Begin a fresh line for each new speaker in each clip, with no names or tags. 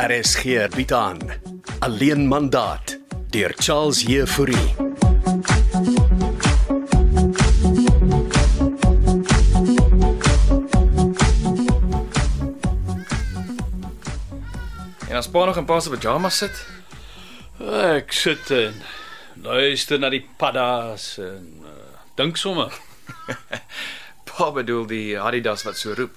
RSG bied aan Alleen mandaat deur Charles Heffouri.
En as pa nog in pa se pyjamas sit,
Ek sit en luister na die paddas en uh, dink sommer
pa bedoel die Adidas wat so roep.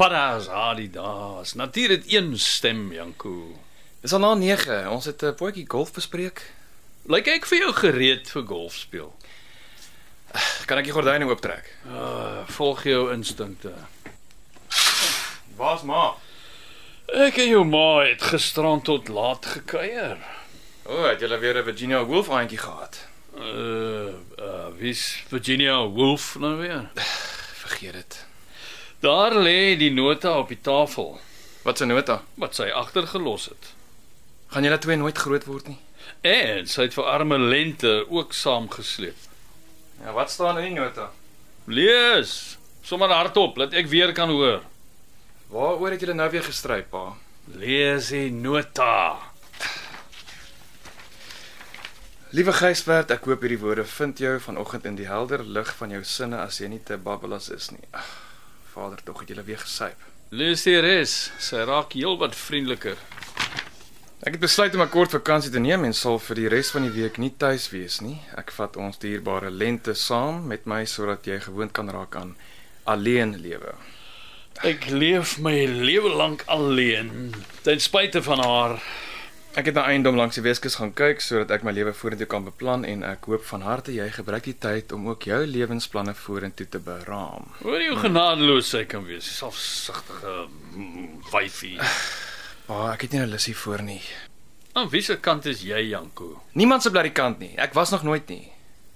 paddas Adidas. Natuur het een stem Janko.
Dis al na 9. Ons het 'n potjie golf bespreek.
Lyk ek vir jou gereed vir golf speel.
Kan ek die gordyne ooptrek?
Uh, volg jou instinkte.
Waar's ma?
Ek en jou ma het gisterand tot laat gekuier.
O, het julle weer 'n Virginia Woolf aantjie gehad?
Uh, uh wie's Virginia Woolf nou weer?
Vergeet dit.
Daar lê die nota op die tafel
Wat se nota?
wat sy agtergelos het.
Gaan julle twee nooit groot word nie?
En sy het vir arme lente ook saamgesleep.
Ja, wat staan in die nota?
Lees, sommer hardop, laat ek weer kan hoor.
Waaroor het julle nou weer gestry, pa?
Lees die nota.
Liewe Gysbert, ek hoop hierdie woorde vind jou vanoggend in die helder lig van jou sinne as jy nie te babbelas is nie. Ag, Vader, tog het julle weer gesyp.
Lees die res. Sy raak heelwat vriendeliker.
Ek het besluit om 'n kort vakansie te neem en sal vir die res van die week nie tuis wees nie. Ek vat ons dierbare lente saam met my sodat jy gewoond kan raak aan alleen lewe.
Ek leef my lewe lank alleen, ten spyte van haar.
Ek het na eiendom langs die Weskus gaan kyk sodat ek my lewe vorentoe kan beplan en ek hoop van harte jy gebruik die tyd om ook jou lewensplanne vorentoe te beraam.
Hoor jy hoe genadeloos sy kan wees, die selfsugtige mm, wyfie.
Maar Ah, ek het nie 'n lusie voor nie.
Aan wiese Nou, kant is jy, Janko?
Niemand se blerikant nie. Ek was nog nooit nie.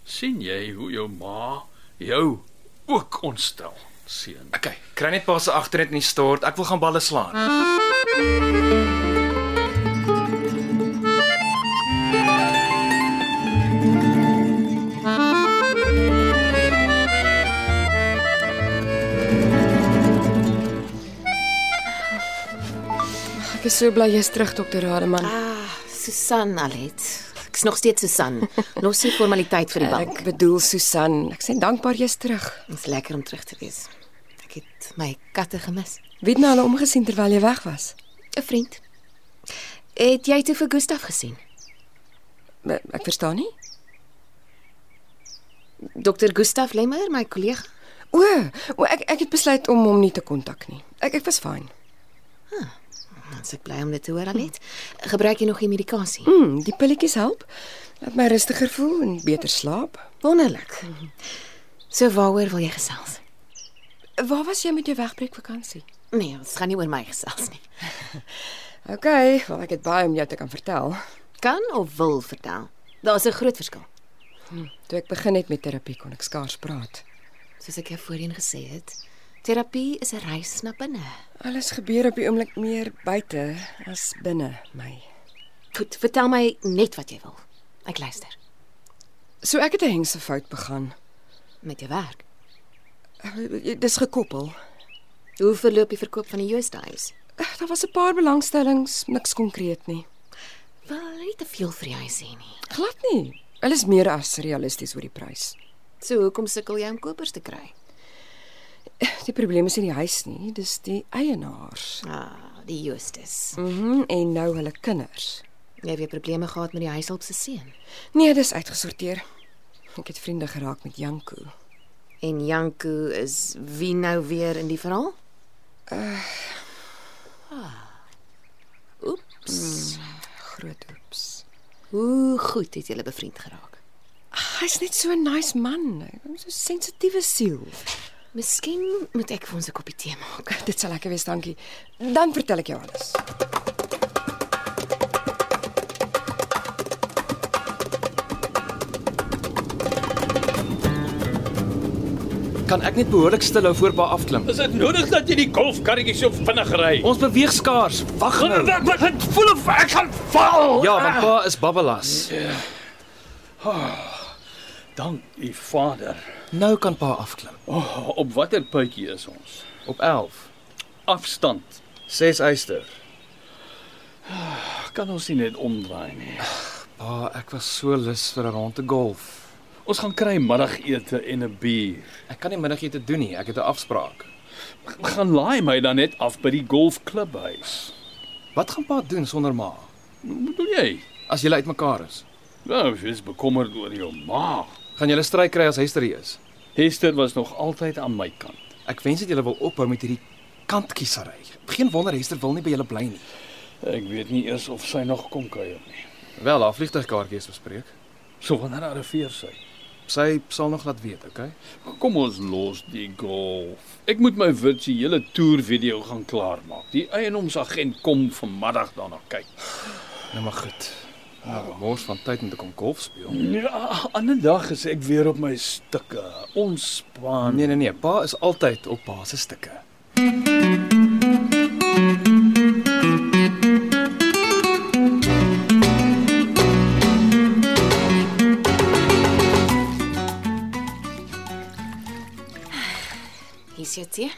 sien jy hoe jou ma jou ook ontstel, seun?
Okay, kry net pas se agternet in die stort. Ek wil gaan balle slaan.
Ek is so bly jy's terug dokter Rademan.
Ah, Susan Alet. Ek's nog steeds Susan. Los die formaliteit vir die bank.
Ek bedoel Susan, ek sê dankbaar jy's terug.
Dit's lekker om terug te wees. Ek het my katte gemis.
Wie het na nou hulle omgesien terwyl jy weg was?
'n Vriend. Het jy toe vir Gustaf gesien?
Ek ek verstaan nie.
Dr. Gustaf Lemmer, my kollega.
O, o ek ek het besluit om hom nie te kontak nie. Ek ek was fyn.
Ons ek bly om dit te hoor Alet. Gebruik jy nog die medikasie?
Hm, die pilletjies help. Laat my rustiger voel en beter slaap.
Wonderlik. So waaroor wil jy gesels?
Waar was jy met jou wegbreekvakansie?
Nee, ons gaan nie oor my gesels nie.
OK, wel ek het baie om jou te kan vertel.
Kan of wil vertel. Daar's 'n groot verskil.
Toe ek begin het met terapie kon ek skaars praat.
Soos ek jou voorheen gesê het, terapie is 'n reis na binne.
Alles gebeur op die oomblik meer buite as binne my.
Goed, vertel my net wat jy wil. Ek luister.
So ek het 'n hengse fout begaan.
Met jou werk.
Dis gekoppel.
Hoe verloop die verkoop van die Joosthuis?
Ag, Daar was 'n paar belangstellings, niks konkreet nie.
Wel, nie te veel vir jou sê nie.
Glad nie. Hulle is meer as realisties oor die prys.
So hoekom sukkel jy om kopers te kry?
Die probleem is nie die huis nie, dis die eienaars.
Ah, die Joostes.
Mhm, mm en nou hulle kinders.
Jy het weer probleme gehad met die huishulp se seun.
Nee, dis uitgesorteer. Ek het vriende geraak met Janko.
En Janko is wie nou weer in die verhaal? Eh. Uh. Ah. Oeps.
Groot oeps.
Hoe goed het julle bevriend geraak?
Ag, Hy's net so 'n nice man, Hy is so 'n sensitiewe siel.
Miskien moet ek vir ons 'n koppie tee maak.
Dit sal lekker wees, dankie. Dan vertel ek jou alles.
Kan ek net behoorlik stilhou voor pa afklim?
Is dit nodig dat jy die golfkarretjie so vinnig ry?
Ons beweeg skaars. Wag nou.
wat het voel of
Ja,
ek gaan val.
Ja, want pa is babbelas.
Dank u Vader.
Nou kan pa afklim.
Oh, op watter puitjie is ons?
Op 11.
Afstand.
6 eyster.
Kan ons nie net omdraai nie.
Pa, ek was so lus vir 'n ronde golf.
Ons gaan kry middagete en 'n bier.
Ek kan nie middagete doen nie, ek het 'n afspraak.
Gaan laai my dan net af by die golfklubhuis.
Wat gaan pa doen sonder ma
Wat doen jy?
as julle uitmekaar is?
Nou, jy's bekommerd oor jou ma.
Gaan julle stry kry as Hester hier is?
Hester was nog altyd aan my kant.
Ek wens dit julle wil ophou met hierdie kantkiesery. Geen wonder Hester wil nie by julle bly nie.
Ek weet nie eers of sy nog kom kuier nie.
Wel, haar vliegtuigkaartjie is bespreek.
So wanneer arriveer sy?
Sy sal nog laat weet, okay?
Kom ons los die golf. Ek moet my virtuele toervideo gaan klaarmaak. Die eienaarsagent kom vanmiddag daarna kyk.
Nou maar goed. Nou, mors van tyd om te kom golf speel.
Ja, ander dag is ek weer op my stukke. Ontspan.
Nee nee nee, pa is altyd op pa se stukke.
Hier's jou tee.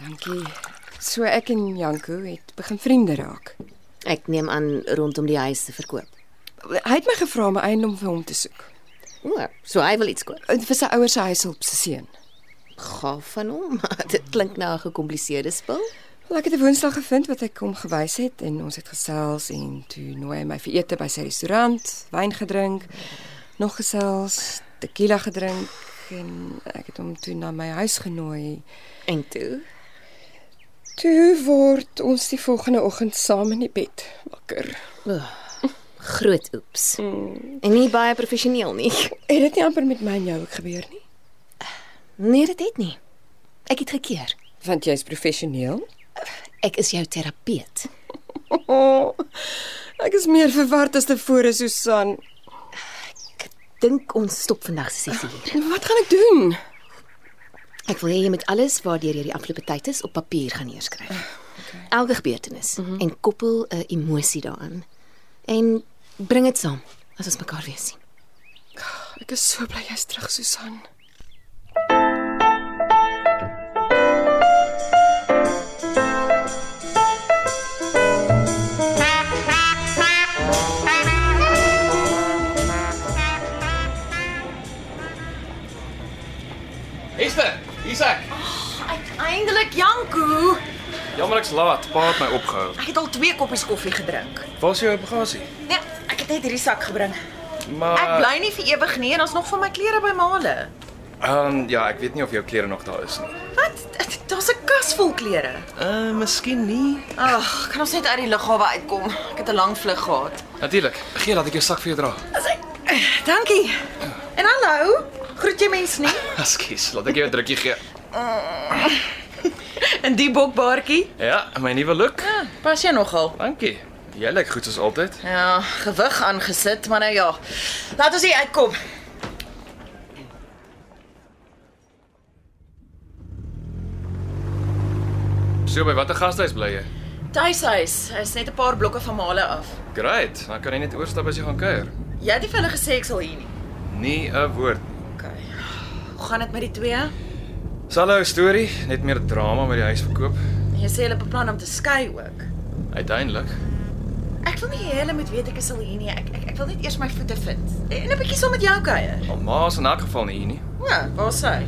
Dankie. So ek en Janko het begin vriende raak.
Ek neem aan rondom die huis te verkoop.
Hy het my gevra om 'n eiendom vir hom te soek.
O, so hy wil iets koop.
Eh, Vir sy ouers se huishulp se seun.
Gaaf van hom. Dit klink na 'n gekompliseerde spul.
Wel, Ek het 'n woonstel gevind wat ek hom gewys het en ons het gesels en toe nooi hy my vir ete by sy restaurant, wyn gedrink, nog gesels, tequila gedrink en ek het hom toe na my huis genooi.
En toe,
Toe word ons die volgende oggend saam in die bed wakker.
groot oeps. En nie baie professioneel nie.
Het dit nie amper met my en jou ook gebeur nie?
Nee, dit het nie. Ek het gekeer.
Want jy's professioneel.
Ek is jou terapeut.
Oh, ek is meer verward as tevore, Susan.
Dink ons stop vandag se sessie hier.
Wat gaan ek doen?
Ek wil hê jy moet alles waardeur jy die afgelope tyd is op papier gaan neerskryf. Elke gebeurtenis en koppel 'n emosie daaraan. En bring dit saam as ons mekaar weer sien.
Ek is so bly jy's terug, Susan.
Hester, hier's ek.
Eindelik Janko.
Jammer ek's laat, pa het my opgehou.
Ek het al twee koppies koffie gedrink.
Waar is jou bagasie?
Nee, ek het net hierdie sak gebring.
Maar
Ek bly nie vir ewig nie en ons nog van my klere by Male.
Ehm um, ja, ek weet nie of jou klere nog daar is nie.
Wat? Daar's 'n kas vol klere.
Uh, miskien nie.
Ag, kan ons net uit die lughawe uitkom? Ek het 'n lang vlug gehad.
Natuurlik. Gee laat ek jou sak vir jou dra.
As ek Dankie. En hallo. Groet jy mense nie?
Ekskuus, laat ek jou 'n drukkie gee.
In die bokbaartjie?
Ja, my nuwe look.
Ja, pas jy nogal.
Dankie. Jy lyk goed soos altyd.
Ja, gewig aangesit, maar nou ja. Laat ons hier uitkom.
So by watter gastehuis bly jy?
Tuishuis is net 'n paar blokke van Male af.
Great. Dan kan jy net oorstap as jy gaan kuier.
Jy het nie vir hulle gesê ek sal hier nie.
Nie 'n woord.
OK. Hoe gaan dit met die twee?
Salo storie, net meer drama met die huis verkoop.
Jy sê hulle beplan om te skei ook.
Uiteindelik.
Ek wil nie hê hulle moet weet ek is al hier nie. Ek ek, ek wil net eers my voete vind. En 'n bietjie saam met jou kuier.
Alma is in elk geval nie hier nie.
Ja, waar is hy?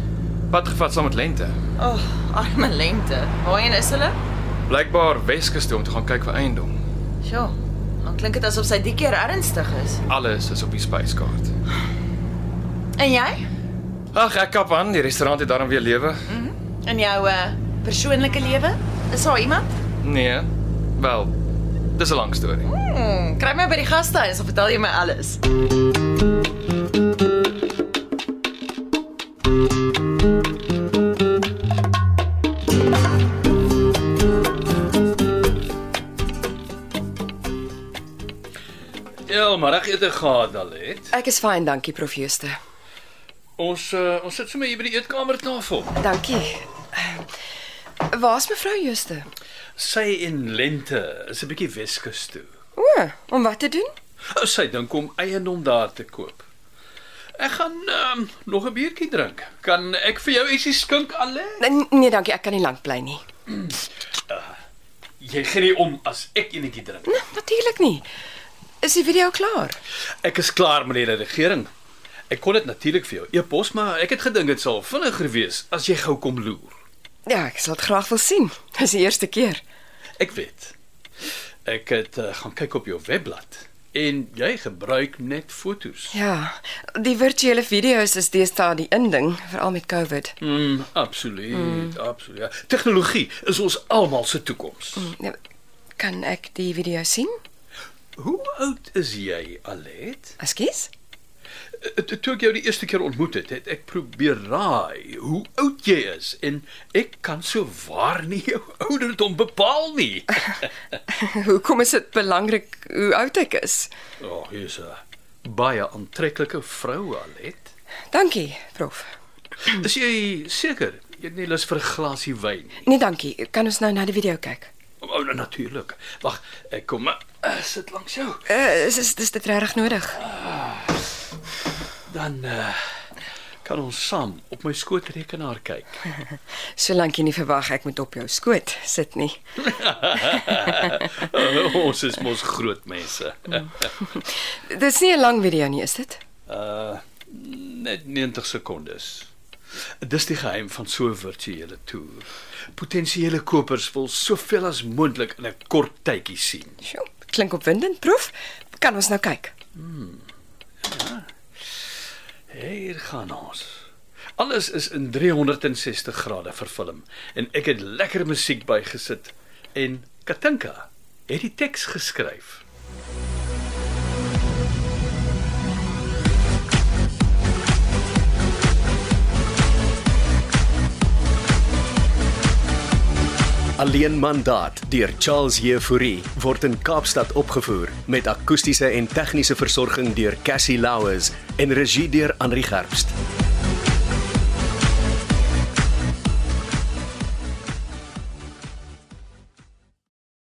Pad gevat saam met Lente.
O, oh, arme lente. Waarheen is hulle?
Blykbaar Weskus toe om te gaan kyk vir eiendom.
Sjoe. Dan klink dit asof sy die keer ernstig is.
Alles is op die spyskaart.
En jy?
Ag, ek kap aan, die restaurant het daarom weer lewe.
In jou uh, persoonlike lewe? Is daar iemand?
Nee. Wel, dis 'n lang storie.
Hmm, kry my by die gastehuis of vertel jy my alles?
Ja, middagete gehad al het.
Ek is fyn, dankie Prof Jooste.
Ons uh, ons sit sommer hier by die eetkamertafel.
Dankie. Eh, Waar's mevrou Jooste?
Sy en Lente is 'n bietjie Weskus toe.
O, om wat te doen?
Sy dink om eiendom daar te koop. Ek gaan ehm, nog 'n biertjie drink. Kan ek vir jou ietsie skink alle?
Nee, nee, dankie, ek kan nie lank bly nie.
Jy gee nie om as ek enetjie drink.
Nee, natuurlik nie. Is die video klaar?
Ek is klaar meneer die regering. Ek kon dit natuurlik vir jou e-pos, maar ek het gedink dit sal vinniger wees as jy gou kom loer.
Ja, ek sal dit graag wil sien. Dis die eerste keer.
Ek weet. Ek het uh, gaan kyk op jou webblad en jy gebruik net fotos.
Ja, die virtuele video's is deesdae die inding, veral met COVID.
Mm, absoluut, mm. absoluut. Ja. Tegnologie is ons almal se toekoms. Mm.
Nou, Kan ek die video sien?
Hoe oud is jy, Alet?
Ekskuus?
Eh, eh, Toe ek jou die eerste keer ontmoet het, het ek probeer raai hoe oud jy is en ek kan so waar nie jou ouderdom bepaal nie.
Hoekom is dit belangrik hoe oud ek is?
Ag, oh, jy's 'n baie aantreklike vrou, Alet.
Dankie, prof.
Is jy seker? Jy het nie lus vir 'n glasie wyn nie.
Nee, dankie. Kan ons nou na die video kyk?
Oh, nou, natuurlik. Wag, ek kom. Uh, sit langs jou.
Uh, is is dis dit regtig nodig?
Dan uh, kan ons saam op my skootrekenaar kyk.
Solank jy nie verwag ek moet op jou skoot sit nie.
Eh, ons is mos groot mense.
Dis nie 'n lang video nie, is dit?
Uh net 90 sekondes. Dis die geheim van so 'n virtuele toer. Potensiële kopers wil soveel as moontlik in 'n kort tydjie sien.
Sjoe, klink opwindend, prof. Kan ons nou kyk?
Hier gaan ons. Alles is in 360 grade vervilm en ek het lekker musiek bygesit en Katinka het die teks geskryf.
Alleen mandaat deur Charles Jefouri word in Kaapstad opgevoer met akoestiese en tegniese versorging deur Cassie Louws en regie deur Henri Gerst.